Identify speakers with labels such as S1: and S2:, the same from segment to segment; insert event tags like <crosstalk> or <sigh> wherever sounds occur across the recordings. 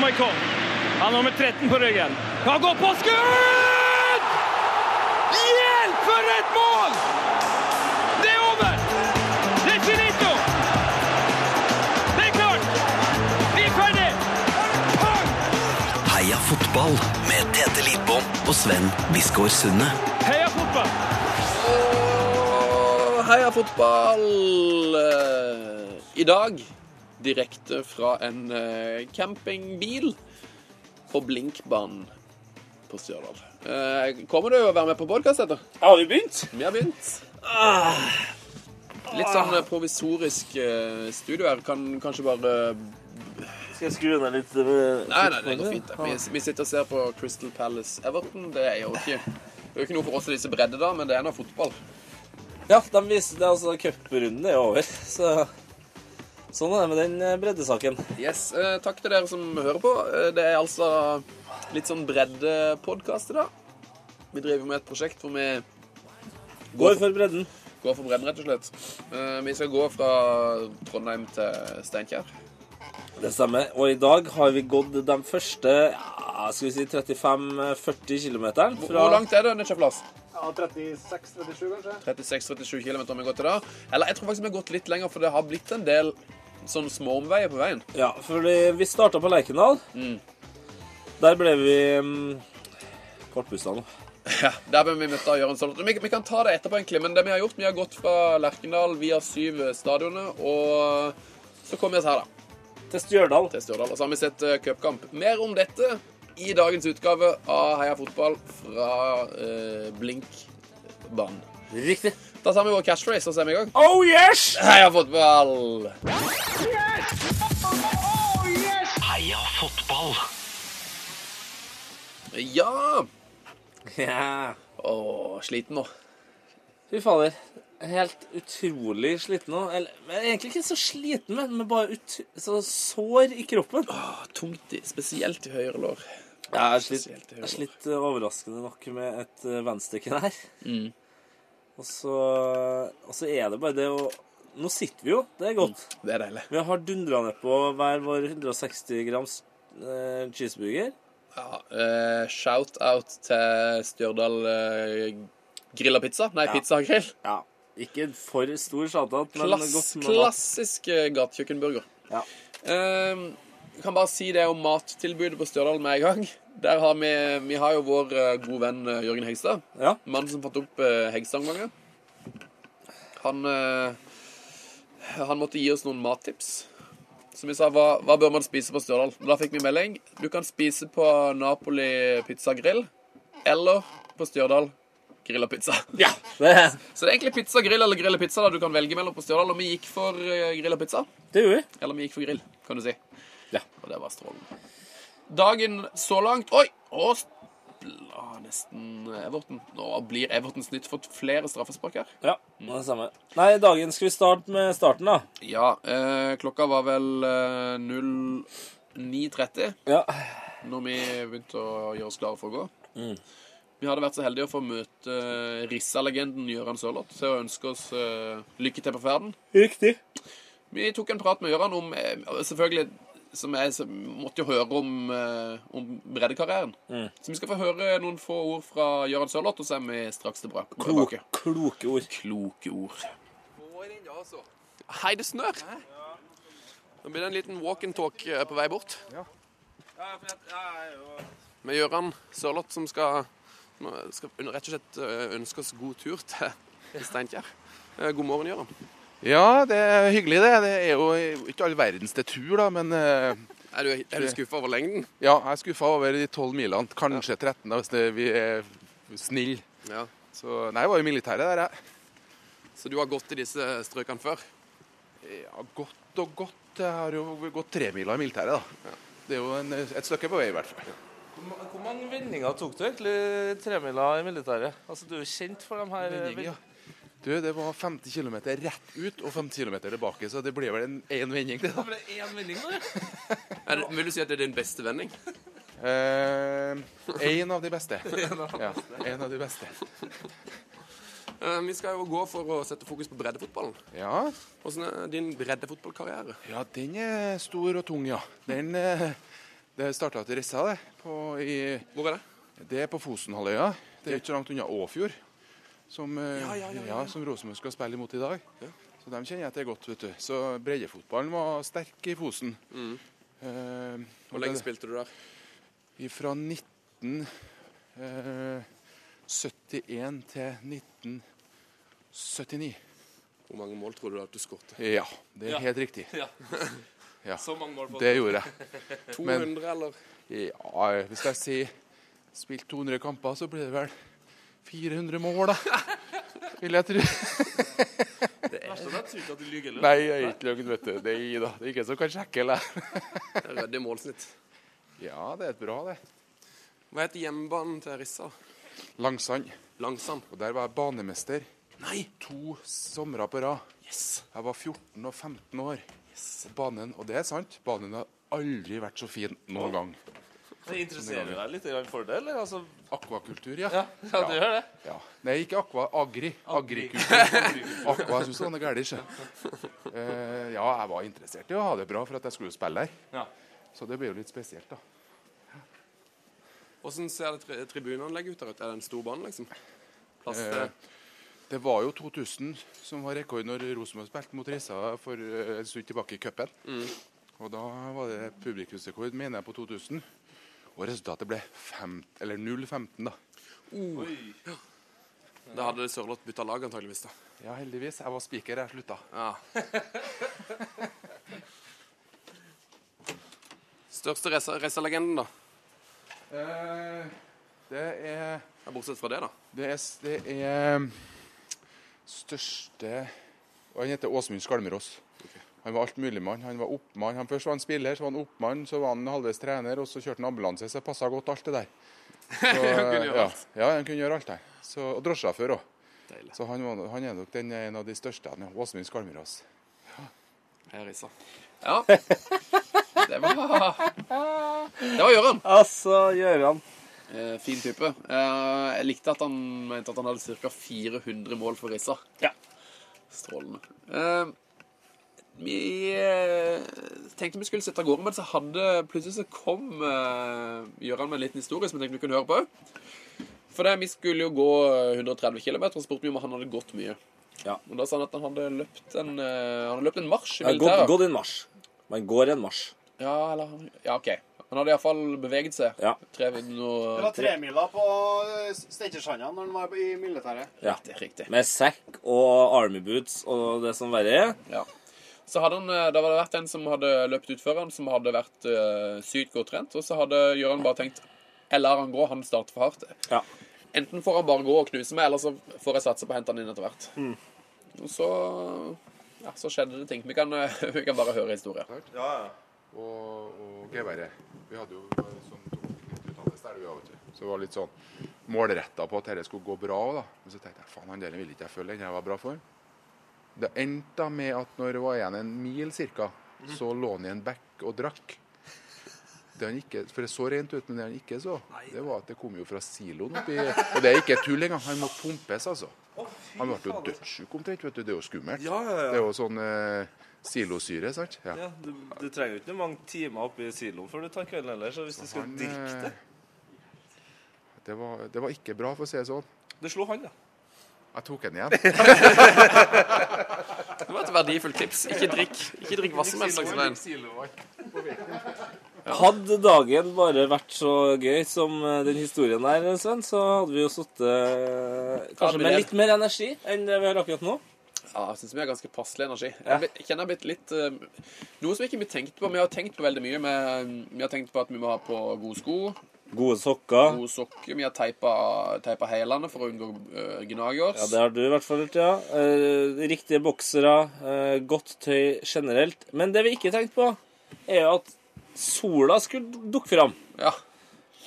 S1: Kom. Han har nummer 13 på ryggen. Kan gå på skudd! Hjelp, for et mål! Det er over! Det er finito! Det er klart! Vi er ferdig!
S2: Heia fotball med Tete Lidbom og Sven Biskår Sunde.
S1: Heia fotball!
S3: Og Heia fotball! Eh, I dag direkte fra en eh, campingbil på Blinkbanen på Stjørdal. Eh, Kommer du å være med på podkast etter?
S4: Har vi begynt?
S3: Vi har begynt. Ah. Litt sånn eh, provisorisk eh, studio her. Kan kanskje bare
S4: Skal jeg skru ned litt? eh,
S3: Nei, nei, det går fint. det. Vi, vi sitter og ser på Crystal Palace Everton. Det er jo ikke Det er jo ikke noe for oss i disse bredde, da, men det er nå fotball.
S4: Ja, de viste det, altså, cuprunden er jo over, så Sånn er det med den eh, breddesaken.
S3: Yes, eh, Takk til dere som hører på. Eh, det er altså litt sånn breddepodkast i dag. Vi driver med et prosjekt hvor vi
S4: Går for bredden.
S3: går for bredden, rett og slett. Eh, vi skal gå fra Trondheim til Steinkjer.
S4: Det stemmer. Og i dag har vi gått de første ja, skal vi si 35-40 km.
S3: Hvor- Hvor langt er det, Nitja Plass?
S5: Ja, 36-37 kanskje?
S3: 36-37 km har vi gått i dag. Eller jeg tror faktisk vi har gått litt lenger, for det har blitt en del sånn småomveier på veien.
S4: Ja, for vi starta på Lerkendal.
S3: Mm.
S4: Der ble vi um, Kortpusta nå.
S3: Ja, Der ble vi møtt av Jørgen Solveig. sånn- Vi, vi kan ta det etterpå, egentlig. Men det vi har gjort, vi har gått fra Lerkendal via syv stadioner, og så kom vi oss her, da.
S4: Til Stjørdal.
S3: til Stjørdal. Og så har vi sett eh, cupkamp. Mer om dette i dagens utgave av Heia fotball fra eh, Blinkbanen.
S4: Riktig.
S3: Da tar vi vår catchphrase og så er vi i gang.
S4: Oh yes!
S3: Heia fotball!
S2: Heia fotball!
S3: Ja!
S4: Ja.
S3: Å, sliten nå.
S4: Fy fader. Helt utrolig sliten nå. Eller men egentlig ikke så sliten, men, men bare ut, så sår i kroppen.
S3: Å, tungt, i, spesielt i høyre lår.
S4: Jeg har slitt,
S3: Spesielt i høyre
S4: jeg
S3: lår.
S4: slitt eh, overraskende nok med et eh, venstrekken her.
S3: Mm.
S4: Og, så, og så er det bare det å Nå sitter vi jo, det er godt.
S3: Det er deilig.
S4: Vi har dundra nedpå hver vår 160 grams eh, cheeseburger.
S3: Ja, eh, Shout-out til Stjørdal eh, Grilla pizza. Nei,
S4: Ja.
S3: pizza grill.
S4: Ja. Ikke en for stor sjatat, men
S3: Klass,
S4: godt med mat.
S3: klassisk eh, gatekjøkkenburger.
S4: Ja.
S3: Ehm, Jeg kan bare si det om mattilbudet på Stjørdal med en gang. Der har vi, vi har jo vår eh, gode venn eh, Jørgen Hegstad.
S4: Ja.
S3: Mannen som fant opp eh, Hegstad-omgangen. Han, eh, han måtte gi oss noen mattips. Som vi sa, hva, hva bør man spise på Stjørdal? Da fikk vi melding. Du kan spise på Napoli pizza grill eller på Stjørdal grilla pizza.
S4: ja. Det,
S3: Så det er egentlig pizza grill eller grilla pizza da du kan velge mellom på Stjørdal. Og vi gikk for eh, grilla pizza.
S4: det gjorde vi.
S3: Eller vi gikk for grill, kan du si.
S4: Ja.
S3: Og det var strålende. Dagen så langt Oi! Og ah, nesten Everton. Nå blir Everton snytt for flere straffespark her.
S4: Ja, det er det samme. Nei, dagen skal vi starte med starten, da.
S3: Ja, eh, klokka var vel eh, 09.30
S4: Ja.
S3: når vi begynte å gjøre oss klare for å gå. Vi hadde vært så heldige å få møte eh, Rissa-legenden Gøran Sørloth til å ønske oss eh, lykke til på ferden.
S4: Riktig.
S3: Vi tok en prat med Gøran om eh, Selvfølgelig som jeg som måtte jo høre om, eh, om breddekarrieren. Så vi skal få høre noen få ord fra Gøran Sørloth, og så er vi straks tilbake.
S4: Kloke,
S3: tilbake.
S4: kloke ord.
S3: Kloke ord. Hei, det snør. Nå blir det en liten walk and talk eh, på vei bort. Med Gøran Sørloth, som skal, som skal under- rett og slett eh, ønske oss god tur til til Steinkjer. Eh, God morgen, Gøran.
S6: Ja, det er hyggelig det. Det er jo ikke all verdens til tur, da, men eh,
S3: Er du, er du skuffa over lengden?
S6: ja, jeg er skuffa over de tolv milene. Kanskje 13, da, hvis det, vi er snille.
S3: Ja.
S6: Så Nei, jeg var jo i militæret der, jeg.
S3: Så du har gått i disse strøkene før?
S6: Ja, godt og godt. Jeg har jo gått tremila i militæret, da. Det er jo en, et stykke på vei, i hvert fall.
S7: Hvor mange vendinger tok du egentlig tremila i militæret? Altså, Du er jo kjent for de her
S6: Vending, ja. Du, det var 50 km rett ut og 50 km tilbake, så det ble vel en én vending, det, da.
S7: Bare én vending, da?
S3: Er det, vil du si at det er din beste vending?
S6: Én Eh, av de beste.
S3: <laughs>
S6: Ja, en av de beste.
S3: Eh, vi skal jo gå for å sette fokus på breddefotballen.
S6: Ja,
S3: Hvordan er din breddefotballkarriere?
S6: Ja, den er stor og tung, ja. Den, eh, Det starta til Rissa, det. På, i,
S3: Hvor er det?
S6: det er på Fosenhalvøya. Det er ikke så langt unna Åfjord, som, eh,
S3: Ja, ja, ja, ja, ja.
S6: som Rosenborg skal spille imot i dag. Så dem kjenner jeg til godt, vet du. Så breddefotballen var sterk i Fosen. Eh,
S3: Hvor Mm. lenge spilte du der?
S6: Fra 1971 til 1979.
S3: Hvor mange mål tror du at du skåret?
S6: Ja, det er
S7: Ja.
S6: helt riktig.
S7: Ja.
S6: Ja.
S7: Så mange mål på
S6: Det gjorde jeg.
S3: 200, eller?
S6: Ja, hvis jeg sier spilt 200 kamper, så blir det vel 400 mål, da. Vil jeg tro.
S7: verste er at jeg tror ikke at du lyver. eller?
S6: Nei, jeg er ikke løgn, vet du. Det er jeg, da. Det er ikke jeg som kan sjekke, eller?
S3: Det er Rødde i målsnitt.
S6: Ja, det er et bra, det.
S3: Hva heter hjemmebanen til Rissa?
S6: Langsand.
S3: Langsand.
S6: Og der var jeg banemester
S3: Nei!
S6: to somre på rad.
S3: Yes!
S6: Jeg var 14 og 15 år. Og banen, og det er sant, banen har aldri vært så fin noen gang.
S7: Det
S4: Sånn
S7: interesserer deg litt grann for det, eller? Altså,
S6: Akvakultur, ja.
S7: ja, ja, du gjør det?
S6: Ja. Nei, ikke aqua, agri. Agrikultur. Aqua, jeg syns han er gæren, ikke? Eh, ja, jeg var interessert i å ha det bra for at jeg skulle jo spille her.
S7: Ja.
S6: Så det blir jo litt spesielt, da.
S3: Hvordan ser det tri tribunanlegget ut der ute? Er det en stor bane, liksom? Plass til
S6: Eh. Det var jo 2000 som var rekord når Rosenborg spilte mot Rissa for eh, en stund tilbake i cupen.
S7: Mm.
S6: Og da var det publikumsrekord, mener jeg, på 2000. Og resultatet ble fem- eller 0-15, da.
S3: Da hadde Sørloth bytta lag, antageligvis. da.
S6: Ja, heldigvis. Jeg var spiker, jeg slutta.
S3: Ja. Største racerlegenden, da?
S6: Eh, det er
S3: Ja, bortsett fra det, da.
S6: Det er, det er um, største og Han heter Åsmund Skalmerås. Han var alt mulig mann. Han var oppmann. Han først var han spiller, så var han oppmann, så var han halvveis trener, og så kjørte han ambulanse. Så det passa godt, alt det der.
S3: <laughs>
S6: Så,
S3: kunne gjøre
S6: ja,
S3: alt.
S6: ja, han kunne gjøre alt der. Så, og drosjesjåfør òg.
S3: Deilig.
S6: Så han, var, han er nok den, en av de største. han, ja. Åsmund Skalmerås.
S3: Her Rissa. Ja. <laughs> Det var Det var Gøran.
S4: Altså, Gøran.
S3: Eh, fin type. Eh, jeg likte at han mente at han hadde ca. 400 mål for Rissa.
S4: Ja.
S3: Strålende. Eh, vi eh, tenkte vi skulle sette av gårde, men så hadde plutselig så kom eh, Gøran med en liten historie som jeg tenkte vi kunne høre på. For det, vi skulle jo gå 130 km, og så spurte vi om han hadde gått mye.
S4: Ja.
S3: Og da sa han at han hadde løpt en, eh, han hadde løpt en marsj i
S4: Ja, gått,
S3: militæret.
S4: gått en marsj. Man går en marsj.
S3: Ja, eller han- Ja, OK. Han hadde iallfall beveget seg.
S4: Ja.
S3: Tre, noe,
S5: Det var tremila på eh, Steinkjersanda når han var i militæret.
S4: Ja.
S3: Riktig, riktig.
S4: Med sekk og army boots og det som verre er.
S3: Ja. Så hadde han, eh, da var det vært en som hadde løpt utfor han, som hadde vært eh, sykt godt trent. Og så hadde Gøran bare tenkt Jeg lar han gå, han starter for hardt.
S4: Ja.
S3: Enten får han bare gå og knuse meg, eller så får jeg satse på å hente han inn etter hvert. Og så ja, så skjedde det ting. Vi kan, eh, <laughs> vi kan bare høre historien.
S6: og, og geværet. Vi hadde jo eh, som tok litt ut av det stelvia, vet du. Så det var litt sånn målretta på at dette skulle gå bra òg, da. Men så tenkte jeg faen, han der ville ikke jeg følge, den jeg var bra for. Det endte da med at når det var igjen en mil ca., så lå han i en bekk og drakk. Det han ikke, for det så rent ut, men det han ikke så, det var at det kom jo fra siloen oppi Og det er ikke tull engang. Han må pumpes, altså. Han ble jo dødssyk omtrent, vet du. Det er jo skummelt.
S7: altså. Ja, ja, ja.
S6: Det er jo sånn eh, silosyre, sant? Ja.
S7: Ja, du, du trenger jo ikke noe mange timer oppi siloen før du tar kvelden heller, så hvis du skal
S6: Han,
S7: drikke det
S6: eh, Det var, det var ikke bra, for å si det sånn.
S7: Du slo han, da.
S6: Jeg tok den igjen.
S3: Det var et verdifullt tips. Ikke drikk, ikke drikk hva som helst. Liksom, det er en-
S4: Hadde dagen bare vært så gøy som eh, den historien der, Sven, så hadde vi jo sittet
S3: Hadde
S4: kanskje
S3: vi
S4: med
S3: det?
S4: litt mer energi enn det vi har akkurat nå.
S3: Ja, jeg syns vi har ganske passelig energi. Jeg blir- jeg kjenner jeg har blitt litt eh, Noe som ikke vi tenkte på. Vi har tenkt på veldig mye. men Vi har tenkt på at vi må ha på gode sko.
S4: Gode sokker.
S3: gode sokker. Vi har teipa, teipa hælene for å unngå øh, gnagers.
S4: Ja, det har du i hvert fall gjort, ja. Eh, riktige boksere, eh, godt tøy generelt. Men det vi ikke tenkte på, er jo at sola skulle dukke fram.
S3: Ja.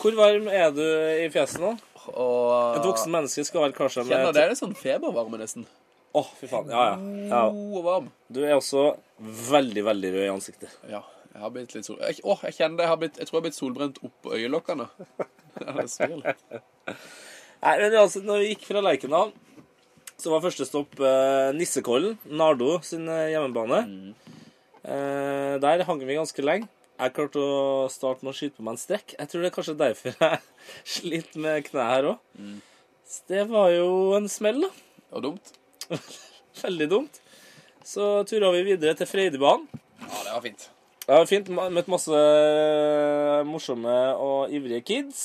S4: Hvor varm er du i fjeset nå? Et
S3: Og eh,
S4: voksen menneske skal være kanskje med
S3: kjenner det er litt sånn febervarme, nesten.
S4: Å, fy faen. Ja, ja. ja.
S3: God og varm.
S4: Du er også veldig, veldig rød i ansiktet.
S3: Ja. Jeg har blitt litt sol... Jeg, åh, jeg kjenner det. Jeg, har blitt, jeg tror jeg har blitt solbrent oppå øyelokkene. <laughs> Ja, det svir litt.
S4: Nei, men altså, når vi gikk fra Lerkendal, så var første stopp eh, Nissekollen, Nardo sin eh, hjemmebane. Eh, der hang vi ganske lenge. Jeg klarte å starte med å skyte på meg en strekk. Jeg tror det er kanskje derfor jeg <laughs> sliter med kneet her òg. Så det var jo en smell, da.
S3: Det var dumt.
S4: Veldig dumt. Så tura vi videre til Freidebanen.
S3: Ja, det var fint.
S4: Det var fint. ma- Møtt masse eh, morsomme og ivrige kids.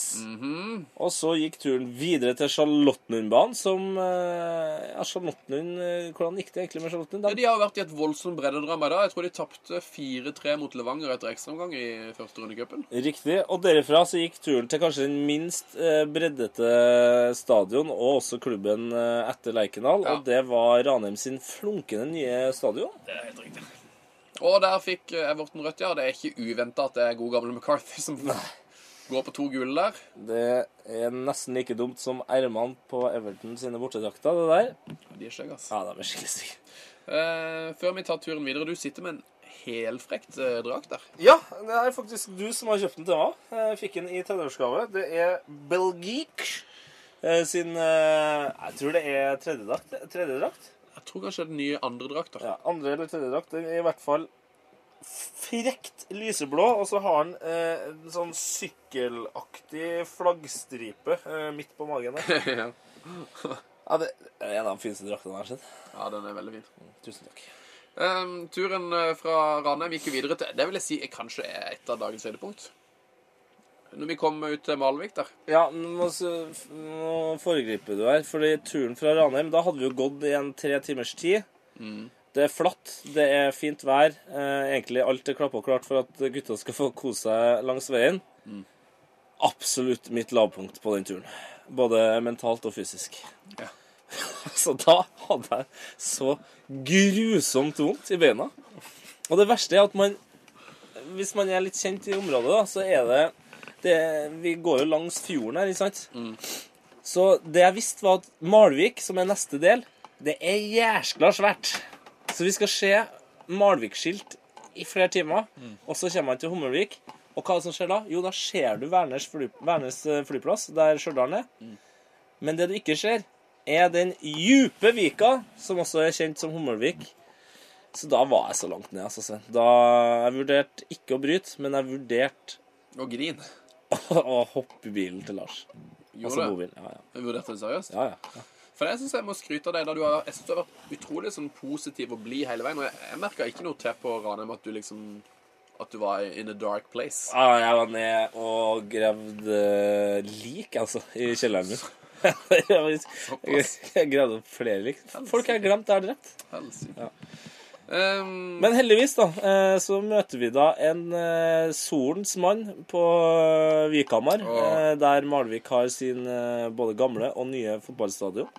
S4: Og så gikk turen videre til Charlottenlundbanen, som eh, Ja, Charlottenlund eh, Hvordan gikk det egentlig med Charlottenlund?
S3: Ja,
S4: Den-
S3: de har jo vært i et voldsomt breddedrama i dag. Jeg tror de tapte 4-3 mot Levanger etter ekstraomgang i første runde i cupen.
S4: Riktig. Og derifra så gikk turen til kanskje den minst eh, breddete stadion, og også klubben eh, etter Lerkendal,
S3: Ja.
S4: og det var Ranheim sin flunkende nye stadion.
S3: Og der fikk eh, Everton rødt, ja. Det er ikke uventa at det er god gamle McCarthy som går på to gule der.
S4: Det er nesten like dumt som ermene på Everton sine bortedrakter, det der.
S3: De er skjegge, altså.
S4: Ja, de er skikkelig stygge.
S3: Eh, før vi tar turen videre, du sitter med en helfrekt eh, drakt der.
S4: Ja, det er faktisk du som har kjøpt den til meg. Jeg fikk den i tenårsgave. Det er Belgique eh, sin eh, Jeg tror det er tredjedrakt. tredjedrakt.
S3: Jeg tror kanskje det er den nye andre drakta.
S4: Ja, andre eller tredjedrakt. Den er i hvert fall frekt lyseblå, og så har den eh, en sånn sykkelaktig flaggstripe eh, midt på magen der.
S3: Ja.
S4: Ja, det er en av de fineste draktene jeg har sett.
S3: ja, den er veldig fin.
S4: Tusen takk.
S3: Ehm, turen eh, fra Ranheim gikk jo videre til Det vil jeg si er kanskje er et av dagens høydepunkt. Når vi kom ut til Malvik der.
S4: Ja, men nå, s- f- nå foregriper du her, fordi turen fra Ranheim, da hadde vi jo gått i en tre timers tid. Det er flatt, det er fint vær. Eh, egentlig alt er klappa og klart for at gutta skal få kose seg langs veien. Absolutt mitt lavpunkt på den turen. Både mentalt og fysisk.
S3: Ja.
S4: <laughs> så da hadde jeg så grusomt vondt i beina. Og det verste er at man Hvis man er litt kjent i området, da, så er det det, vi går jo langs fjorden her, ikke sant? Så det jeg visste var at Malvik, som er neste del, det er jæskla svært. Så vi skal se Malvik-skilt i flere timer, og så kommer man til Hummelvik. Og hva er det som skjer da? Jo, da ser du Værnes, fly, Værnes eh, flyplass, der Stjørdal er. Men det du ikke ser, er den dype vika, som også er kjent som Hummelvik. Så da var jeg så langt ned, altså, Sven. Da, jeg vurderte ikke å bryte, men jeg vurderte
S3: Og grin.
S4: å hoppe i bilen til Lars. Altså
S3: Gjorde det.
S4: bobilen. Ja, ja.
S3: Vi vurderte det seriøst.
S4: ja, ja.
S3: For jeg syns jeg må skryte av deg. da du har, Jeg synes du har vært utrolig sånn positiv og blid hele veien. Og jeg, jeg merka ikke noe til på Ranheim at du liksom At du var in a dark place.
S4: Ja, Ah, jeg var ned og gravde eh, lik, altså, i kjelleren min. <laughs> Jeg var-
S3: Såpass.
S4: jeg gravde opp flere lik. Folk jeg har glemt, jeg har drept.
S3: Helsike. Ehm,
S4: Men heldigvis, da, eh, så møter vi da en eh, solens mann på eh, Vikhamar.
S3: Åh.
S4: eh, Der Malvik har sin eh, både gamle og nye fotballstadion.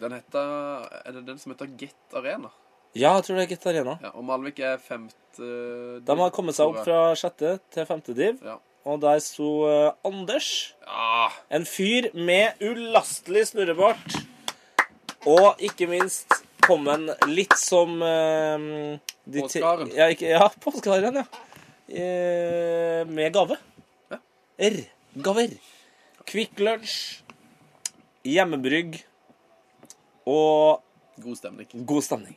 S3: den heter Er det den som heter Get Arena?
S4: Ja, jeg tror det er Gitt Arena.
S3: Ja, og Malvik er femte
S4: De har kommet seg opp fra sjette til femte div,
S3: Ja.
S4: og der sto eh, Anders.
S3: Ah,
S4: En fyr med ulastelig snurrebart. Og ikke minst kommen litt som eh, de ti-
S3: Påskeharen.
S4: Ja, ikke, ja påskeharen, ja. Eh, med gave.
S3: Ja.
S4: R. Gaver. Kvikk Lunsj. Hjemmebrygg. Og
S3: god stemning.
S4: god stemning.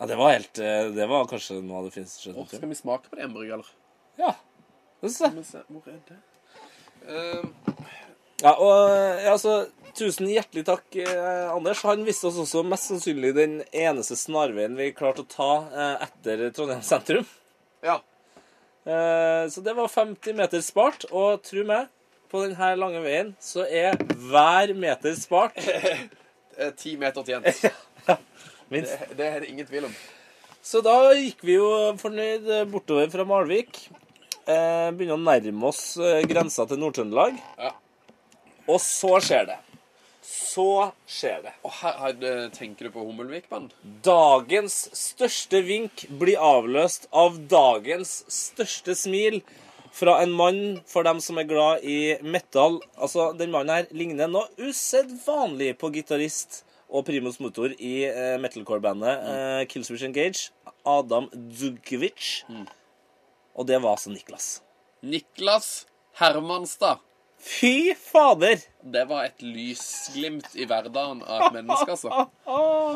S4: Ja, det var helt eh, Det var kanskje noe av det fineste som
S3: Åh,
S4: skjedde. på
S3: skal vi smake på det embryoet, eller?
S4: turen. Ja, det synes jeg.
S3: Men se, Hvor er det? Ehm,
S4: Ja, og ja, altså, Tusen hjertelig takk, eh, Anders. Han viste oss også mest sannsynlig den eneste snarveien vi klarte å ta eh, etter Trondheim sentrum.
S3: ja.
S4: Eh, så det var 50 meter spart, og tro meg, på denne lange veien så er hver meter spart.
S3: eh, Ti meter til
S4: <laughs>
S3: igjen.
S4: Minst.
S3: Det er det ingen tvil om.
S4: Så da gikk vi jo fornøyd eh, bortover fra Malvik. Eh, begynner å nærme oss eh, grensa til Nord-Trøndelag.
S3: Ja.
S4: Og så skjer det. Så skjer det.
S3: Og her, her eh, tenker du på Hummelvikbanen?
S4: Dagens største vink blir avløst av dagens største smil fra en mann for dem som er glad i metal. Altså, den mannen her ligner nå usedvanlig på gitarist og primus motor i eh, metalcore-bandet eh, Killswitch Engage, Adam Dzugkiewicz. Og det var altså Niklas.
S3: Niklas Hermanstad.
S4: Fy fader! <laughs>
S3: Det var et lysglimt i hverdagen av et menneske, altså.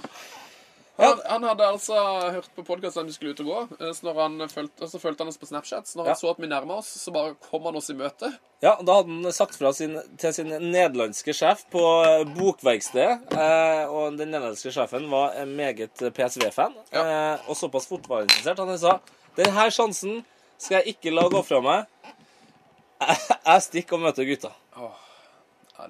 S3: Han, han hadde altså hørt på podkasten vi skulle ut og gå, eh, så når han fulgte, så fulgte han oss på Snapchat. Så når
S4: Ja.
S3: han så at vi nærma oss, så bare kom han oss i møte.
S4: Ja, da hadde han sagt fra sin, til sin nederlandske sjef på eh, bokverkstedet. Eh, og den nederlandske sjefen var en meget PSV-fan eh, og såpass fotballinteressert. Han sa denne sjansen skal jeg ikke la gå fra meg. Jeg, jeg stikker og møter gutta.
S3: Ja,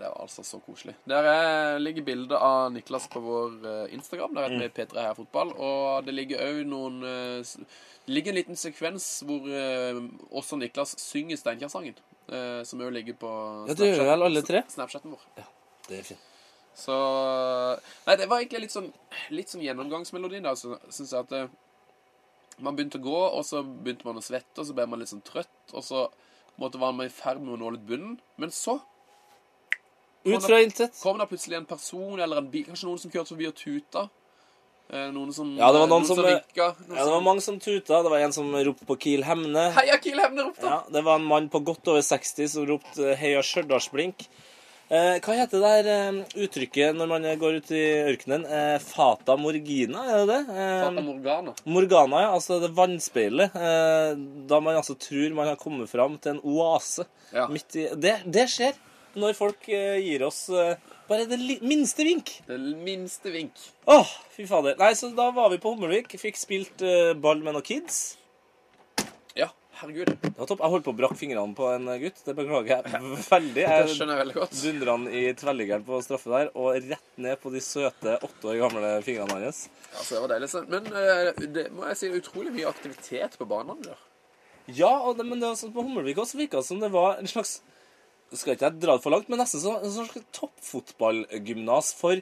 S3: Det var altså så koselig. Der er, ligger bilde av Niklas på vår eh, Instagram. Der heter
S4: Mm.
S3: vi P3 Her Fotball. Og det ligger òg noen eh, s- Det ligger en liten sekvens hvor eh, også Niklas synger Steinkjer-sangen. eh, som òg ligger på
S4: Ja, det gjør vel alle tre?
S3: Snapchaten vår.
S4: Det er fint.
S3: Så Nei, det var egentlig litt sånn, litt sånn gjennomgangsmelodien, da. Så syns jeg at eh, man begynte å gå, og så begynte man å svette, og så ble man litt sånn trøtt, og så måtte man i ferd med å nå litt bunnen. Men så
S4: Ut fra intet.
S3: kom det plutselig en person eller en bil, kanskje noen som kjørte forbi og tuta. Eh, Noen som
S4: Ja, det var
S3: noen
S4: noen som, eh,
S3: vinka. Noen
S4: Ja, det var mange som tuta. Det var en som ropte på Kiel Hemne.
S3: som Heia Kiel Hevner opp, da!
S4: Ja, det var en mann på godt over 60 som ropte eh, 'Heia Stjørdalsblink'. Eh, hva heter det der eh, uttrykket når man eh, går ut i ørkenen? Eh, fata morgina, er det det?
S3: Fata
S4: Eh,
S3: Morgana.
S4: Morgana, ja. Altså det vannspeilet. Eh, da man altså tror man har kommet fram til en oase
S3: Ja.
S4: midt i Det, det skjer når folk eh, gir oss eh, bare det li minste vink.
S3: Det minste vink.
S4: Åh, fy fader. Nei, så da var vi på Hummelvik, fikk spilt eh, ball med noen kids.
S3: Ja, herregud.
S4: Det var topp. Jeg holdt på å brakke fingrene på en eh, gutt. Det beklager jeg <laughs> veldig.
S3: Det
S4: Jeg
S3: skjønner jeg veldig godt.
S4: dundrer han i tvelliggeren på straffe der, og rett ned på de søte åtte år gamle fingrene hans.
S3: Altså, det var deilig. så- Men eh, det må jeg si det er utrolig mye aktivitet på banene der.
S4: Ja, og det, men det var sånn på Hummelvik også virka det som det var en slags Skal ikke jeg dra det for langt, men nesten sånn, en slags toppfotballgymnas for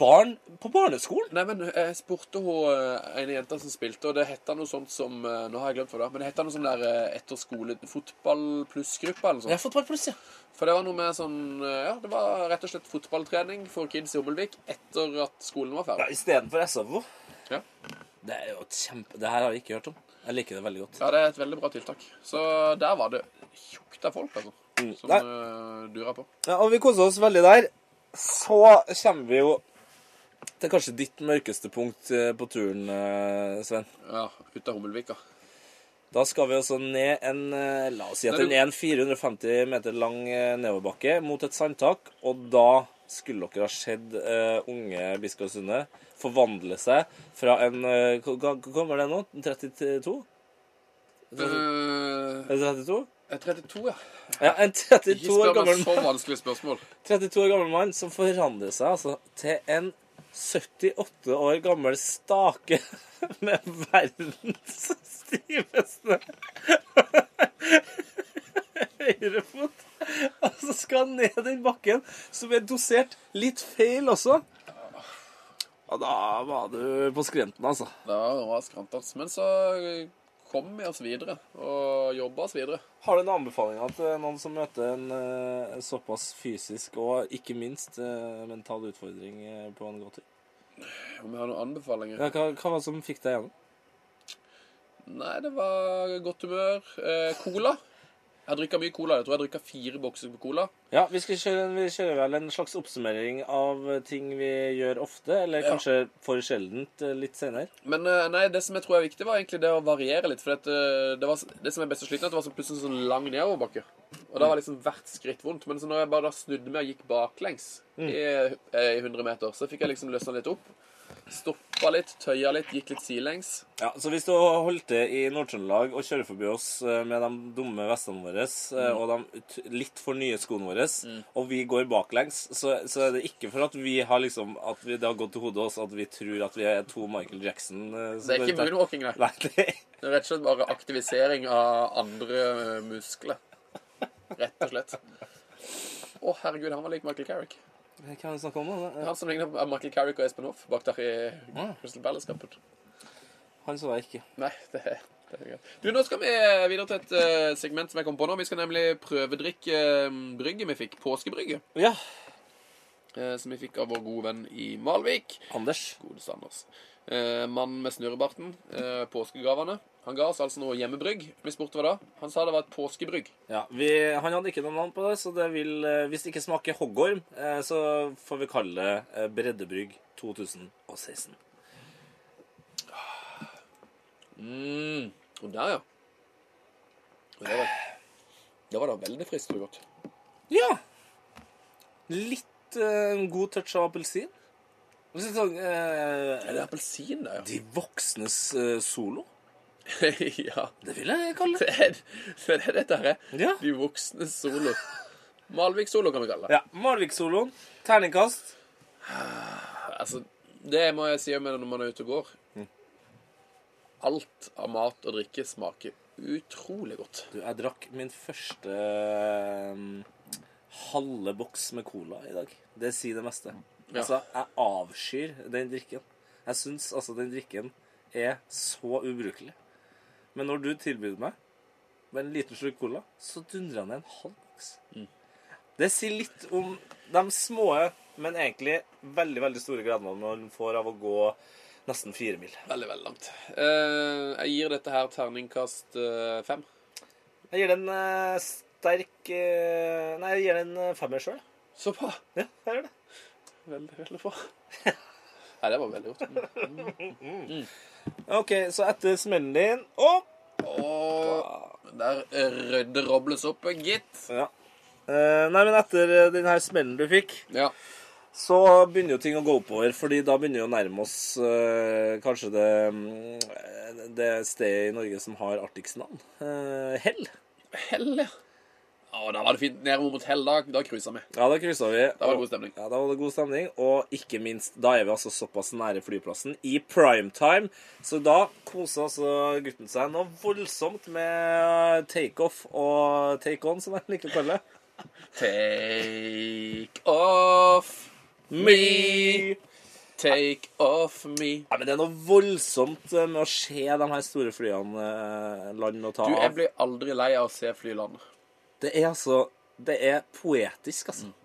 S4: barn på barneskolen.
S3: Nei, men jeg spurte hun eh, en jente som spilte, og det hette noe sånt som eh, Nå har jeg glemt hva det var, men det hette noe sånn der eh, etter skole fotball pluss-gruppe eller
S4: Jeg
S3: noe
S4: har
S3: sånt.
S4: fått bare pluss, ja.
S3: For det var noe med sånn eh, Ja, det var rett og slett fotballtrening for kids i Hummelvik etter at skolen var ferdig.
S4: Istedenfor SFO.
S3: Ja.
S4: Det er jo et kjempe... Det her har jeg ikke hørt om. Jeg liker det veldig godt.
S3: Ja, det er et veldig bra tiltak. Så der var det tjukt av folk, altså, som
S4: Nei.
S3: uh, dura på.
S4: Ja, og vi koser oss veldig der. Så kommer vi jo til kanskje ditt mørkeste punkt eh, på turen, eh, Sven.
S3: Ja, ut av Hummelvika.
S4: Da skal vi altså ned en eh, La oss si at
S3: Nei,
S4: den
S3: du-
S4: er en 450 meter lang eh, nedoverbakke mot et sandtak. Og da skulle dere ha sett eh, unge Biskår Sunde forvandle seg fra en eh, Hva hva- hva gammel er det nå? 32?
S3: Eh,
S4: Er det 32?
S3: jeg er 32, ja.
S4: Ja, en 32
S3: Ikke
S4: år
S3: spør meg
S4: gammel
S3: så vanskelige spørsmål.
S4: 32 år gammel mann som forandrer seg altså, til en 78 år gammel stake <laughs> med verdens stiveste høyrefot. Altså skal han ned den bakken, som er dosert litt feil også. Og da var du på skrenten, altså.
S3: Det var skrantende. Men så kom vi oss videre, og jobba oss videre.
S4: Har du en anbefaling til noen som møter en eh, såpass fysisk og ikke minst eh, mental utfordring eh, på en gåtur?
S3: Om jeg har noen anbefalinger?
S4: Ja, hva, hva var det som fikk deg gjennom?
S3: Nei, det var godt humør. Eh, cola. Jeg drikka mye cola. Jeg tror jeg drikka fire bokser med cola.
S4: Ja, vi, skal kjøre, en- vi kjører vel en slags oppsummering av eh, ting vi gjør ofte, eller kanskje for sjeldent eh, litt senere.
S3: Men eh, nei, det som jeg tror er viktig, var egentlig det å variere litt. For det, det, var, det som er best å sliten, er at det var så plutselig sånn lang nedoverbakke. Og da var liksom hvert skritt vondt. Men så når jeg bare da snudde meg og gikk baklengs i, eh, i 100 meter, så fikk jeg liksom løsna litt opp. Stoppa litt, tøya litt, gikk litt sidelengs.
S4: Ja, Så hvis du holdt til i Nord-Trøndelag og kjører forbi oss eh, med de dumme vestene våre eh, og de ut- litt for nye skoene våre, og vi går baklengs, så, så er det ikke for at vi har liksom At vi, det har gått til hodet oss at vi tror at vi er to Michael Jackson. eh, som
S3: Det er
S4: går
S3: ikke
S4: ut her.
S3: moonwalking, nei.
S4: Nei, det
S3: Det er rett og slett bare aktivisering av andre eh, muskler. Rett og slett. Å, herregud, han var lik Michael Carrick.
S4: Hva er det vi snakker om nå?
S3: Han som ligner på Michael Carrick og Espen Hoff bak der i Crystal Palace-kampen.
S4: Han så jeg ikke.
S3: Nei, det er det er greit. Du, Nå skal vi eh, videre til et eh, segment som jeg kom på nå. Vi skal nemlig prøvedrikke eh, brygget vi fikk. Påskebrygget.
S4: Ja,
S3: eh, Som vi fikk av vår gode venn i Malvik.
S4: Anders.
S3: Godeste Anders. Eh, Mannen med snurrebarten. eh, Påskegavene. Han ga oss altså noe hjemmebrygg. Vi spurte hva da. Han sa det var et påskebrygg.
S4: Ja, vi, Han hadde ikke noe navn på det, så det vil, eh, hvis det ikke smaker hoggorm, eh, så får vi kalle det eh, Breddebrygg 2016.
S3: Mm. Og der, ja. Og Det var, det var da veldig friskt og godt.
S4: Ja. Litt eh, en god touch av appelsin. Litt sånn eh,
S3: Er det appelsin der, ja?
S4: De voksnes eh, solo.
S3: <laughs> ja.
S4: Det vil jeg kalle det.
S3: Det <laughs> er det er dette her. er
S4: Ja.
S3: De voksne solo. Malvik-solo kan vi kalle det.
S4: Ja, Malvik-soloen. Terningkast.
S3: Altså, det må jeg si med det når man er ute og går. Alt av mat og drikke smaker utrolig godt.
S4: Du, jeg drakk min første eh, halve boks med cola i dag. Det sier det meste.
S3: Ja.
S4: Altså, jeg avskyr den drikken. Jeg syns altså den drikken er så ubrukelig. Men når du tilbød meg med en liten slurk cola, så dundra jeg ned en halv boks. Det sier litt om de små, men egentlig veldig veldig store gledene man får av å gå nesten fire mil.
S3: Veldig, veldig langt. Eh, jeg gir dette her terningkast eh, fem.
S4: Jeg gir den eh, sterk eh, Nei, jeg gir den eh, femmer sjøl.
S3: Så bra.
S4: Ja, jeg gjør det.
S3: Veldig, veldig bra. <laughs> Nei, det var veldig godt. Mm.
S4: Ok, så etter smellen din Opp!
S3: Og der rødde robles opp, gitt.
S4: Ja. Eh, nei, men etter eh, den her smellen du fikk,
S3: Ja.
S4: så begynner jo ting å gå oppover. Fordi da begynner jo å nærme oss eh, kanskje det, mm, det stedet i Norge som har artigst navn. Eh, hell.
S3: Hell, ja. Å, da var det fint. Nedover mot hell, da, da cruisa vi.
S4: Ja, da kryssa vi. Da
S3: var det god stemning.
S4: Ja, da var det god stemning. Og ikke minst, da er vi altså såpass nære flyplassen i primetime, så da koser altså gutten seg noe voldsomt med takeoff og take-on, som jeg liker å kalle det.
S3: Take off me. Take off me.
S4: Ja, men Det er noe voldsomt eh, med å se de her store flyene eh, lande og ta
S3: Du, jeg
S4: av.
S3: blir aldri lei av å se fly lande.
S4: Det er altså Det er poetisk, altså.
S3: Mm.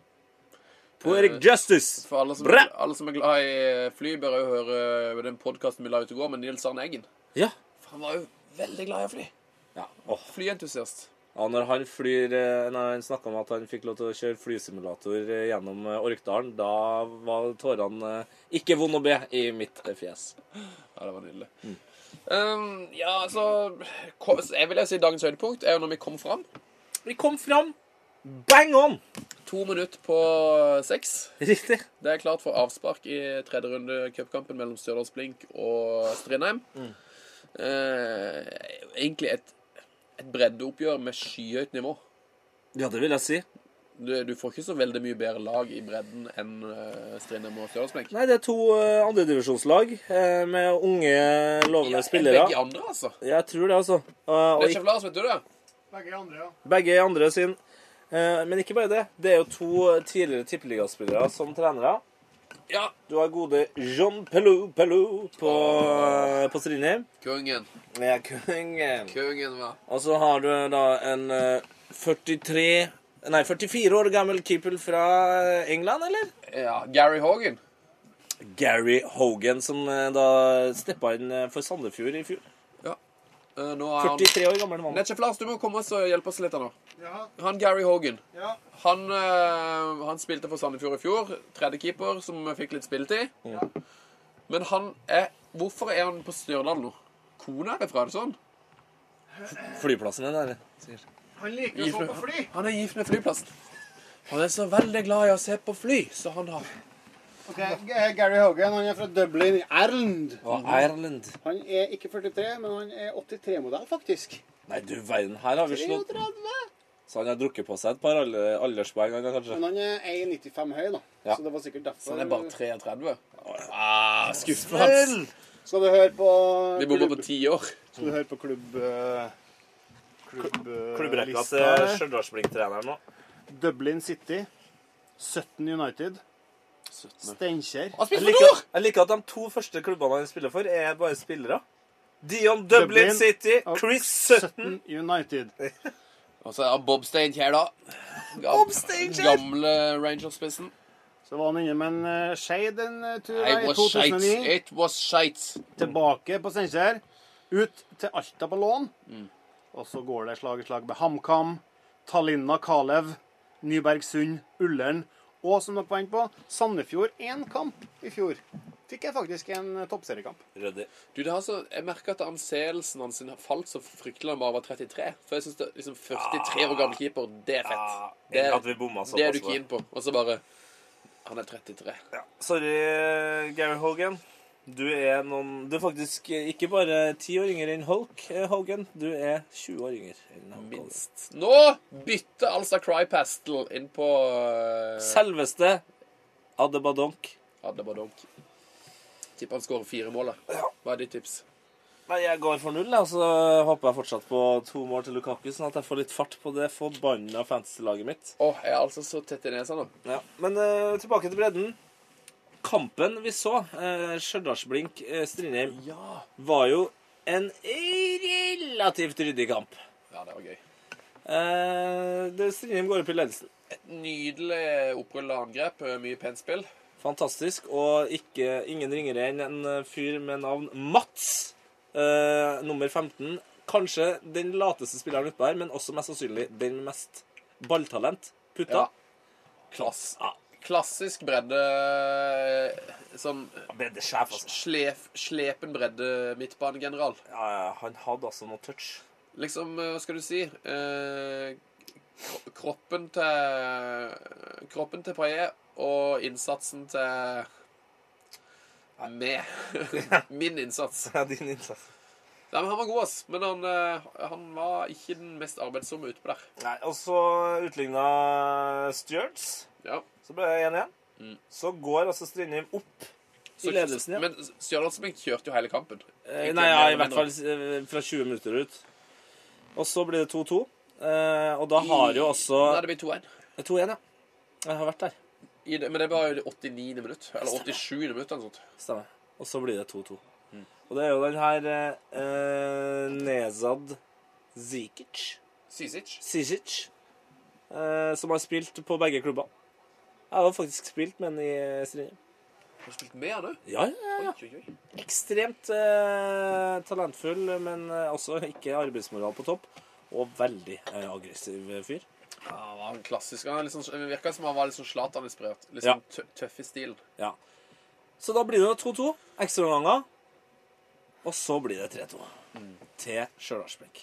S3: Eh,
S4: Poetic justice!
S3: For alle som,
S4: Bra!
S3: alle som er glad i fly, bør jo høre den podkasten vi la ut i går med Nils Arne Eggen.
S4: Ja.
S3: For han var jo veldig glad i å fly.
S4: Ja, åh.
S3: Flyentusiast.
S4: ja Når han flyr eh, Når han snakka om at han fikk lov til å kjøre flysimulator eh, gjennom eh, Orkdalen, da var tårene eh, ikke vond å be i mitt eh, fjes.
S3: Ja, det var nydelig. Um, ja, altså ko- Jeg vil jo si dagens høydepunkt er jo når vi kom fram.
S4: Vi kom fram! Bang on!
S3: To minutter på seks.
S4: Riktig.
S3: Det er klart for avspark i tredje runde cupkampen mellom Stjørdals Blink og Strindheim. Eh, egentlig et, et breddeoppgjør med skyhøyt nivå.
S4: Ja, det vil jeg si.
S3: Du, du får ikke så veldig mye bedre lag i bredden enn eh, Strindheim og Stjørdals Blink.
S4: Nei, det er to eh, andredivisjonslag eh, med unge, lovende spillere.
S3: Begge andre, altså.
S4: Jeg tror det, altså. Og, og
S3: Det er ikke Lars, vet du det?
S5: Begge andre, ja.
S4: begge er andre sin. Eh, Men ikke bare det. Det er jo to tidligere tippeligaspillere som trenere.
S3: Ja.
S4: Du har gode Jean Pelou Pelou på, eh, på Strindheim.
S3: Kongen.
S4: Ja, kongen.
S3: Kongen, hva?
S4: Og så har du da en eh, 43 Nei, 44 år gammel keeper fra England, eller?
S3: Ja. Gary Hogan.
S4: Gary Hogan, som eh, da steppa inn eh, for Sandefjord i fjor.
S3: Eh, nå er han
S4: 43 år gammel mann.
S3: Netchef Lars, du må komme oss og hjelpe oss litt her nå.
S5: Jaha,
S3: Han Gary Hogan.
S5: ja.
S3: Han, eh, han spilte for Sandefjord i fjor. Tredje keeper, som fikk litt spilletid. Men han er Hvorfor er han på Stjørdal nå? Kona er det fra, er det sånn?
S4: Flyplassen din, eller?
S5: Han liker å se på fly.
S3: Han er gift med flyplassen. Han er så veldig glad i å se på fly, så han har
S5: Ok, G- Gary Hogan han er fra Dublin, Ireland.
S4: Og Ireland.
S5: Han er ikke 43, men han er 83-modell, faktisk.
S4: Nei, du verden, her har vi slått
S5: 33!
S4: Så han har drukket på seg et par alle- alderspoeng, han har kanskje.
S5: Men han er 1,95 høy, da.
S4: Ja.
S5: Så det var sikkert derfor.
S3: Han er bare 33.
S4: Skuffende!
S5: Skal du høre på
S3: Vi bommer på ti år.
S5: Skal du høre på klubb... eh, Klubb... eh,
S4: Klubbrekka
S5: lista
S4: til
S5: her?
S4: Stjørdalsblink-treneren nå.
S5: Dublin City. 17 United. Steinkjer.
S4: Jeg liker, jeg liker at de to første klubbene han spiller for, er bare spillere. Dion Dublin,
S5: Dublin
S4: City,
S5: og
S4: Chris Sutton
S5: 17 United.
S3: Og så er han Bob Steinkjer, da. Gam-
S4: Bob Steinkjer!
S3: Gamle Rangers-spissen.
S5: Så var han inne med en eh, Skeid en eh, tur
S3: I
S5: der i
S3: was shite.
S5: 2009.
S3: It was shite.
S5: Tilbake på Steinkjer. Ut til Alta på lån. Og så går det slag i slag med HamKam, Talinna Kalev, Nybergsund, Ullern og, som dere var inne på, Sandefjord én kamp i fjor. Frankrike, faktisk, i en eh, toppseriekamp.
S4: Ryddig.
S3: Du, det har så, jeg merker at anseelsen hans sin har falt så fryktelig da han bare var 33. For jeg synes det, liksom 43 år gammel keeper, det er fett.
S4: Ja,
S3: Det er,
S4: Ah, at vi bomma såpass.
S3: det er du
S4: på det.
S3: keen på. Og så bare Han er 33.
S4: Ja. Sorry, Gary Hogan. Du er noen Du er faktisk ikke bare ti år yngre enn Hulk eh, Hogan. Du er 20 år yngre enn Hulk Hogan.
S3: Minst. Nå bytter altså Crypastel inn på uh,
S4: Selveste Adebadonk.
S3: Addabadonk. eh, Tipper han skårer fire mål. da. Hva er ditt tips?
S4: Nei, jeg går for null, jeg, og så håper jeg fortsatt på to mål til Lukaku, sånn at jeg får litt fart på det forbanna fantasy-laget mitt.
S3: Å, jeg er altså så tett i nesa nå.
S4: Ja, Men eh, tilbake til bredden. Kampen vi så, uh, Stjørdalsblink-Strindheim, var jo en relativt ryddig kamp.
S3: Ja, det var gøy.
S4: Eh, det Strindheim går opp i ledelsen.
S3: Nydelig opprulla angrep. eh, Mye pent spill.
S4: Fantastisk. Og ikke, ingen ringere enn en eh, fyr med navn Mats. eh, nummer 15. Kanskje den lateste spilleren utpå her, men også mest sannsynlig den med mest balltalent. Putta.
S3: Ja. Klass.
S4: Ja.
S3: Klassisk bredde eh, Sånn
S4: Bedre sjef, altså.
S3: slef, slepen bredde midtbanegeneral.
S4: Ja, han hadde altså noe touch.
S3: Liksom, eh, hva skal du si eh, kro- Kroppen til Kroppen til Paillet og innsatsen til med <laughs> min innsats.
S4: <laughs> Ja, din innsats.
S3: Nei, men Han var god, ass. Men han, eh, han var ikke den mest arbeidsomme utpå der.
S4: Nei, og så utligna Stewards.
S3: Ja.
S4: Så ble det 1-1. Så går altså Strindheim opp
S3: Så-
S4: i ledelsen igjen.
S3: Men Stjørdalsblink kjørte jo hele kampen.
S4: Eh, Nei, ja, i hvert fall eh, fra 20 minutter ut. Og så blir det 2-2. Eh, og da har jo også
S3: Nei, det ble 2-1.
S4: 2-1, ja. Jeg har vært der.
S3: I det- Men det var jo det 89. minutt. Eller 87. minutt eller noe sånt.
S4: Stemmer. Og så blir det 2-2. Og det er jo den her eh, eh, Nezad Zikic
S3: Sisic.
S4: Zizic, eh, som har spilt på begge klubber. Jeg har faktisk spilt med han i eh, Strindheim.
S3: Har spilt med han òg.
S4: Ja, ja, ja.
S3: Oi, oi, oi.
S4: Ekstremt eh, talentfull, men eh, også ikke arbeidsmoral på topp. Og veldig eh, aggressiv fyr.
S3: Ja, han Ah, var en klassisk. Han er litt sånn- det virka som han var litt sånn Zlatan-inspirert. Litt
S4: Ja.
S3: sånn tø- tøff i stilen.
S4: Ja. Så da blir det 2-2. Ekstraomganger. Og så blir det 3-2 til Stjørdalsblink.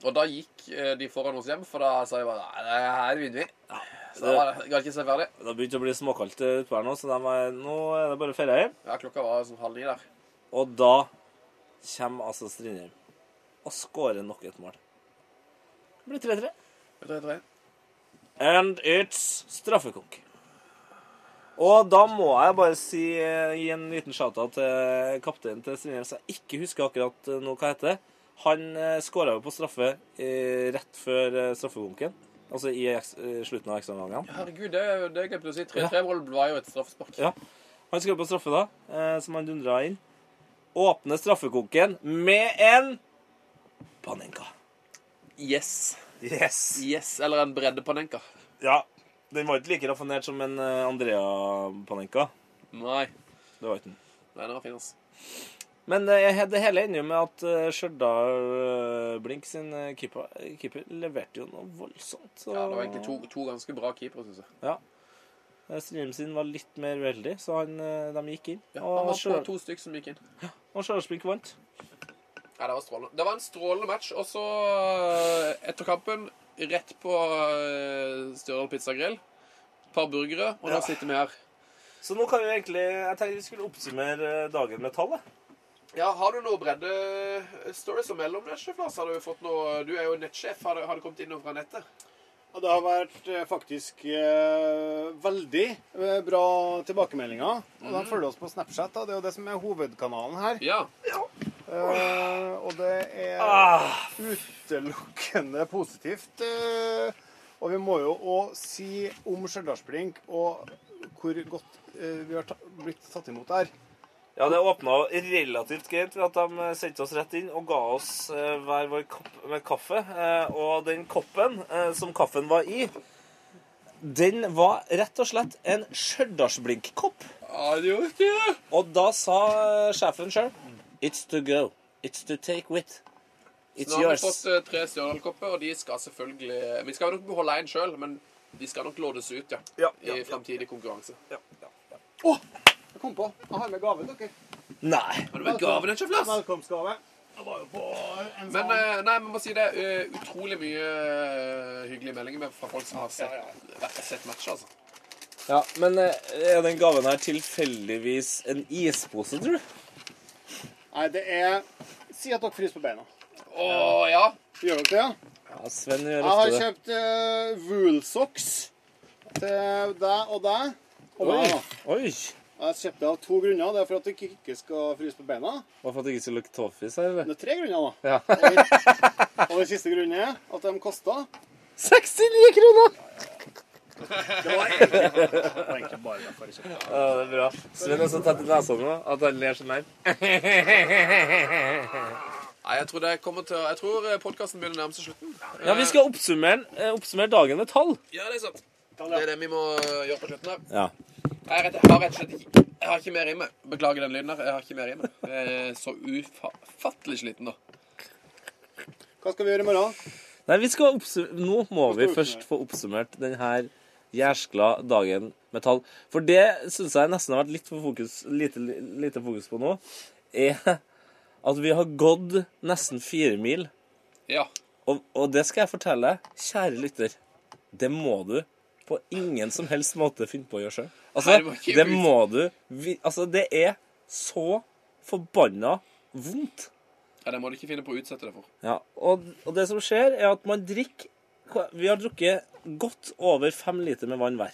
S3: Og da gikk eh, de foran oss hjem, for da sa jeg bare Nei, det her vinner vi.
S4: Ja.
S3: Så da
S4: Det,
S3: var det- ga ikke seg ferdig.
S4: det begynte å bli småkaldt eh, utpå her nå, så de var, nå er det bare å ferie hjem.
S3: Ja, klokka var sånn halv ni der.
S4: Og da kommer altså Strindheim og skårer nok et mål. Det blir 3-3.
S3: Tre, tre.
S4: And it's straffekonk. Og da må jeg bare si, eh, gi en liten shout-out til kapteinen til Strindheim, som jeg ikke husker akkurat eh, nå hva heter. Han skåra jo på straffe eh, rett før eh, straffekonken. Altså i eks- eh, slutten av ekstraomgangene.
S3: Herregud, det, er jo- det glemte du å si. 3-3-mål var jo et straffespark.
S4: Ja. Han skåra på straffe da, eh, som han dundra inn. Åpner straffekonken med en Panenka.
S3: Yes.
S4: Yes.
S3: Yes, Eller en breddepanenka.
S4: Ja. Den var ikke like raffinert som en eh, Andrea Panenka.
S3: Nei.
S4: Det var ikke den.
S3: Nei, den var fin, altså.
S4: Men det, det hele ender jo med at eh, Stjørdal eh, Blink sin eh, keeper, keeper leverte jo noe voldsomt. Så,
S3: Ja, det var egentlig to, to ganske bra keepere, synes jeg.
S4: Eh, Strindheim sin var litt mer uheldig, så han, eh, de gikk inn.
S3: Ja, han
S4: og
S3: var på
S4: Stjørdal-
S3: to stykk som gikk inn.
S4: og Stjørdal Blink vant.
S3: Ja, det var strålende. Det var en strålende match. Og så, eh, etter kampen, rett på eh, Stjørdal pizzagrill. Et par burgere, og nå sitter vi her.
S4: Så nå kan vi egentlig Jeg tenkte vi skulle oppsummere eh, dagen med tallet.
S3: Ja, Har du eh, noe bredde-stories om mellomnettsjef, Lars? Har du fått noe Du er jo nettsjef. Har, du- har du kommet inn noe fra nettet?
S5: Og det har vært eh, faktisk eh, veldig eh, bra tilbakemeldinger. Og de følger oss på Snapchat. Da. Det er jo det som er hovedkanalen her.
S3: Ja.
S5: Eh, og det er utelukkende positivt. eh, og vi må jo òg si om Stjørdalsblink og hvor godt eh, vi har ta blitt tatt imot der.
S4: Ja, det åpna relativt greit ved at de eh, sendte oss rett inn og ga oss eh, hver vår kopp med kaffe. Eh, Og den koppen eh, som kaffen var i, den var rett og slett en Stjørdalsblink-kopp. Og da sa eh, sjefen sjøl It's to go. It's to take with. It's
S3: Nå har vi
S4: yours.
S3: fått eh, tre Stjørdal-kopper, og de skal selvfølgelig Vi skal nok beholde én sjøl, men de skal nok lådes ut, ja.
S4: Ja, ja,
S3: I
S4: ja.
S3: framtidig konkurranse.
S4: Ja, ja.
S5: Jeg kom på. Jeg har med gave til dere.
S4: Nei.
S3: Har du med gaven din, sjef Lars?
S5: Velkomstgave. Jeg var jo på en
S3: Men
S5: sånn
S3: eh, nei, vi må si det. eh, Utrolig mye eh, hyggelige meldinger med- fra folk som har sett, vært- sett matcher, altså.
S4: Ja, Men eh, er den gaven her tilfeldigvis en ispose, tror du?
S5: Nei, det er Si at dere fryser på beina.
S3: Å ja.
S5: Gjør dere det? ja?
S4: Ja, Sven gjør
S5: Jeg har
S4: ofte det.
S5: kjøpt uh, Woolsocks til deg og deg. Og meg, da.
S4: Oi!
S5: Jeg kjøpte det av to grunner. Det er for at dere ikke skal fryse på beina.
S4: Var for at det ikke skulle lukte toffis her, eller?
S5: Det er tre grunner, da.
S4: Ja.
S5: Og, og den siste grunnen er at de kosta.
S4: 69 <laughs> kroner!
S5: Det var egentlig det var egentlig bare derfor jeg kjøpte.
S4: Ja, det er bra. Sven er så tett i nesa nå at han ler sånn her.
S5: <laughs>
S3: Nei, jeg tror, det kommer til, å- jeg tror podkasten begynner å nærme seg slutten.
S4: Ja, vi skal oppsummere, eh, oppsummere dagen med tall.
S3: Ja, det er sant. Det er det vi må eh, gjøre på slutten her.
S4: Ja.
S3: Jeg, rett, jeg har rett og slett ikke Jeg har ikke mer i meg. Beklager den lyden her. Jeg har ikke mer i meg. Jeg er så ufattelig sliten nå.
S5: Hva skal vi gjøre i morgen?
S4: Nei, vi skal oppsum- Nå må vi
S5: oppsummere.
S4: først få oppsummert denne jærskla dagen med tall. For det syns jeg nesten har vært litt for fokus, lite, lite fokus på nå, er at vi har gått nesten fire mil.
S3: Ja.
S4: Og, og det skal jeg fortelle deg, kjære lytter. Det må du på ingen som helst måte finne på å gjøre
S3: Nei,
S4: sjøl.
S3: det var
S4: Altså,
S3: ikke
S4: det
S3: ut.
S4: må du vi, Altså, det er så forbanna vondt.
S3: ja det må du ikke finne på å utsette det for.
S4: Ja, og, og det som skjer, er at man drikker Vi har drukket godt over fem liter med vann hver.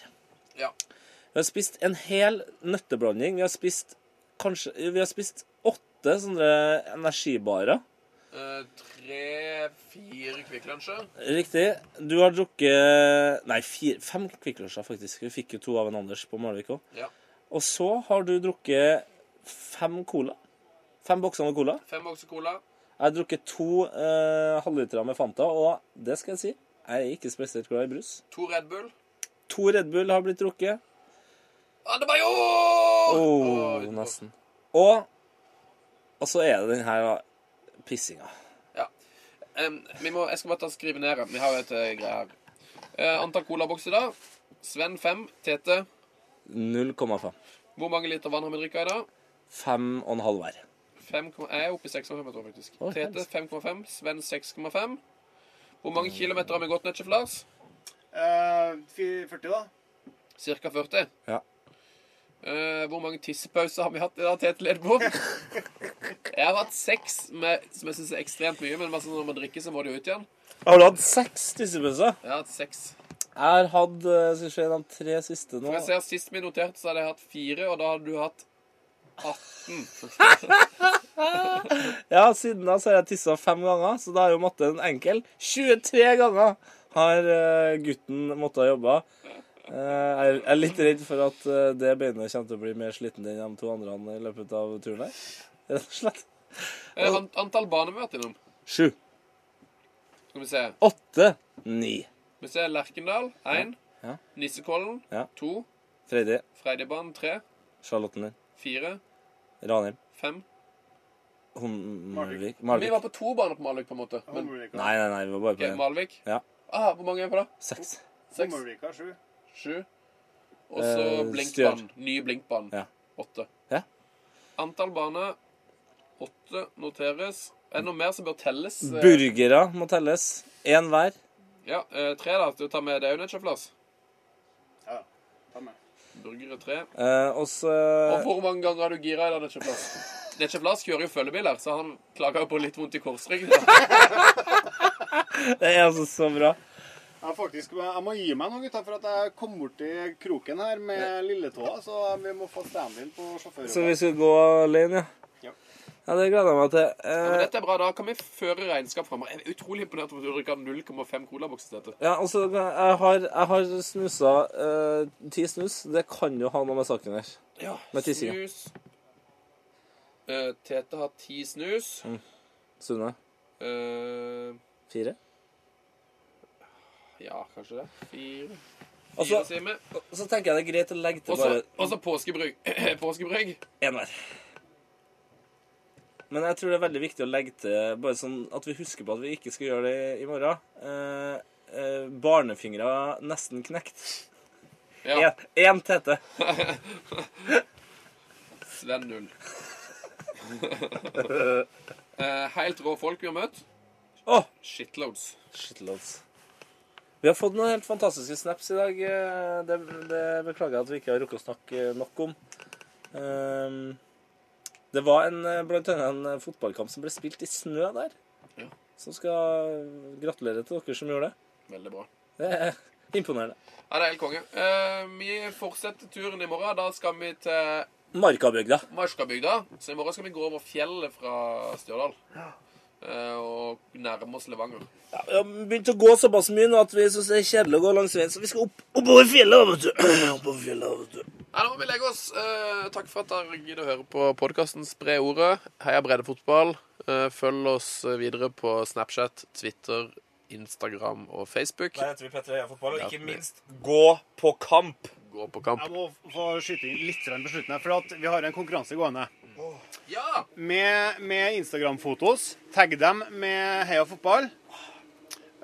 S3: Ja.
S4: Vi har spist en hel nøtteblanding. Vi har spist kanskje Vi har spist åtte sånne energibarer.
S3: Eh, Tre-fire Kvikk Lunsjer.
S4: Riktig. Du har drukket Nei, fire, fem Kvikk Lunsjer, faktisk. Vi fikk jo to av en Anders på Malvik òg.
S3: Ja.
S4: Og så har du drukket fem cola. Fem bokser med cola.
S3: Fem bokser cola.
S4: Jeg har drukket to eh, halvlitere med Fanta, og det skal jeg si, jeg er ikke spesielt glad i brus.
S3: To Red Bull.
S4: To Red Bull har blitt drukket.
S3: Adebayor!
S4: Oh,
S3: utenfor.
S4: nesten. Og, og så er det den her da, pissinga.
S3: Ja. Em, vi må, jeg skal bare ta og skrive ned. her. Vi har jo et eh, greie her. Eh, antall colabokser i dag. Sven 5. Tete,
S4: 0,5.
S3: hvor mange liter vann har vi drikka i dag?
S4: Fem og en halv hver.
S3: 5, jeg er oppe i 6,5, jeg tror faktisk.
S4: Oi,
S3: Tete 5,5. Sven 6,5. Hvor mange kilometer har vi gått, Nøtchef Lars?
S5: Eh, 40, da?
S3: Cirka 40.
S4: Ja.
S3: Eh, hvor mange tissepauser har vi hatt i dag, Tete Ledbo? Jeg har hatt seks, med, som jeg syns er ekstremt mye, men altså når man drikker, så må det jo ut igjen.
S4: Har du hatt seks tissepauser?
S3: Jeg har hatt seks.
S4: Jeg har hatt eh, skal vi se, de tre siste nå.
S3: For jeg ser Sist vi noterte, så hadde jeg hatt fire, og da hadde du hatt 18.
S4: Ja, siden da så har jeg tissa fem ganger, så da er jo matten enkel. 23 ganger har eh, gutten måttet jobbe. Eh, jeg jeg er litt redd for at eh, det beinet kommer til å bli mer sliten enn de to andre i løpet av turen her. Rett og slett.
S3: Eh, an- antall baner vi har vært innom.
S4: Sju.
S3: Skal vi se.
S4: Åtte. Ni.
S3: Vi ser Lerkendal 1.
S4: Ja.
S3: Nissekollen
S4: Ja.
S3: 2.
S4: Fredje.
S3: Freidibanen 3.
S4: Charlottenlund.
S3: 4.
S4: Ranheim.
S3: 5.
S4: Holmvik.
S3: Vi
S4: Malvik.
S3: var på to baner på Malvik, på en måte. Men
S5: Hummervika.
S4: Nei, nei, nei, vi var bare på
S3: ok,
S4: den.
S3: Malvik
S4: Ja.
S3: ah, Hvor mange er vi på da?
S4: Seks.
S3: 6,
S5: Hummervika 7.
S3: 7 Og så
S4: Eh,
S3: blinkbanen. Ny blinkbane.
S4: Ja.
S3: 8.
S4: Ja.
S3: Antall baner 8 noteres. Er det noe mer som bør telles? Eh,
S4: Burgere må telles. Én hver.
S3: Ja, eh, tre da. Du tar med det òg, Netcheflas.
S5: Ja, ta med.
S3: Burgere tre.
S4: Eh, og så
S3: Og hvor mange ganger har du gira i dag, Netcheflas? Netcheflas kjører jo følgebil her, så han klager jo på litt vondt i korsryggen. da.
S4: Eh. Det er altså så bra.
S5: Jeg, faktisk, jeg må gi meg nå, gutta, for at jeg kom borti kroken her med lilletåa. Så vi må få stand-in på
S4: Så vi
S5: sjåføren.
S4: skal gå alene, ja?
S5: Ja.
S4: Ja, det gleder jeg meg til.
S3: <laughs> Men
S4: Eh,
S3: dette er bra. Da kan vi føre regnskap framover. Jeg er utrolig imponert over at du drikker 0,5 colabokser til dette.
S4: ja, altså, jeg har, jeg har snusa eh, ti snus. Det kan jo ha noe med saken her.
S3: Ja,
S4: Med tissinga.
S3: snus. Eh, Tete har ti snus.
S4: Mm. Sunne.
S3: Eh,
S4: Fire?
S3: ja, kanskje det. Fire. Fire
S4: Altså-
S3: sier vi.
S4: Så tenker jeg det er greit å legge til
S3: Og så-
S4: bare
S3: Og så påskebrygg. <clears throat> påskebrygg.
S4: én hver. Men jeg tror det er veldig viktig å legge til bare sånn at vi husker på at vi ikke skal gjøre det i morgen. Eh, eh, barnefingre nesten knekt.
S3: Ja.
S4: Én tete.
S3: Sven
S4: <laughs>
S3: null. Eh, Helt rå folk vi har møtt.
S4: Åh!
S3: Shitloads.
S4: Shitloads. Vi har fått noen helt fantastiske snaps i dag. eh, Det, det beklager jeg at vi ikke har rukket å snakke nok om. Ehm, Det var en, eh, blant annet en fotballkamp som ble spilt i snø der.
S3: Ja.
S4: Som skal gratulere til dere som gjorde det.
S3: Veldig bra.
S4: Det er imponerende.
S3: Ja, det er helt konge. Eh, vi fortsetter turen i morgen. Da skal vi til
S4: Markabygda.
S3: Marskabygda. Så i morgen skal vi gå over fjellet fra Stjørdal. Eh, og nærme oss Levanger.
S4: Ja, vi har begynt å gå såpass mye nå at vi synes det er kjedelig å gå langs veien, så vi skal opp, oppover fjellet, vet du. <clears throat> oppover fjellet, vet du.
S3: Nei, nå må vi legge oss. Eh, takk for at dere gidder å høre på podkasten. Spre ordet. Heia breddefotball. Eh, følg oss videre på Snapchat, Twitter, Instagram og Facebook.
S7: Der heter vi Petter Heia Fotball, og ikke minst gå på kamp!
S3: Gå på kamp.
S5: Jeg må få skyte inn litt grann på slutten her, for at vi har en konkurranse gående.
S3: Ja!
S5: Med, med Instagram-fotos. Tagg dem med Heia fotball.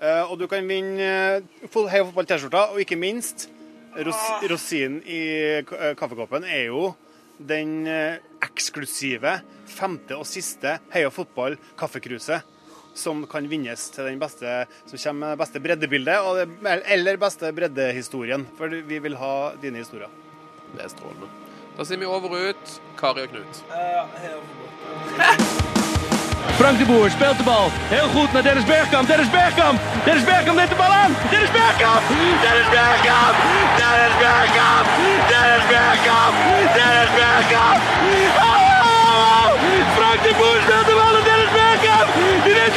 S5: Eh, og du kan vinne eh, fo- Heia fotball-T-skjorta, og ikke minst ros rosinen i k- eh, kaffekoppen er jo den eh, eksklusive femte og siste Heia fotball-kaffekruset. Som kan vinnes til den beste som kommer med det beste breddebildet og det, eller beste breddehistorien. For vi vil ha dine historier.
S3: Det er strålende. Da sier vi over og ut. Kari og Knut.
S1: Frank de Boer speelt de bal. Heel goed naar Dennis Bergkamp. Dennis Bergkamp. Dennis Bergkamp neemt de bal aan. Dennis Bergkamp. Dennis Bergkamp. Dennis Bergkamp. Dennis Bergkamp. Dennis Bergkamp. Oh! Frank de Boer speelt de bal naar Dennis Bergkamp. Die neemt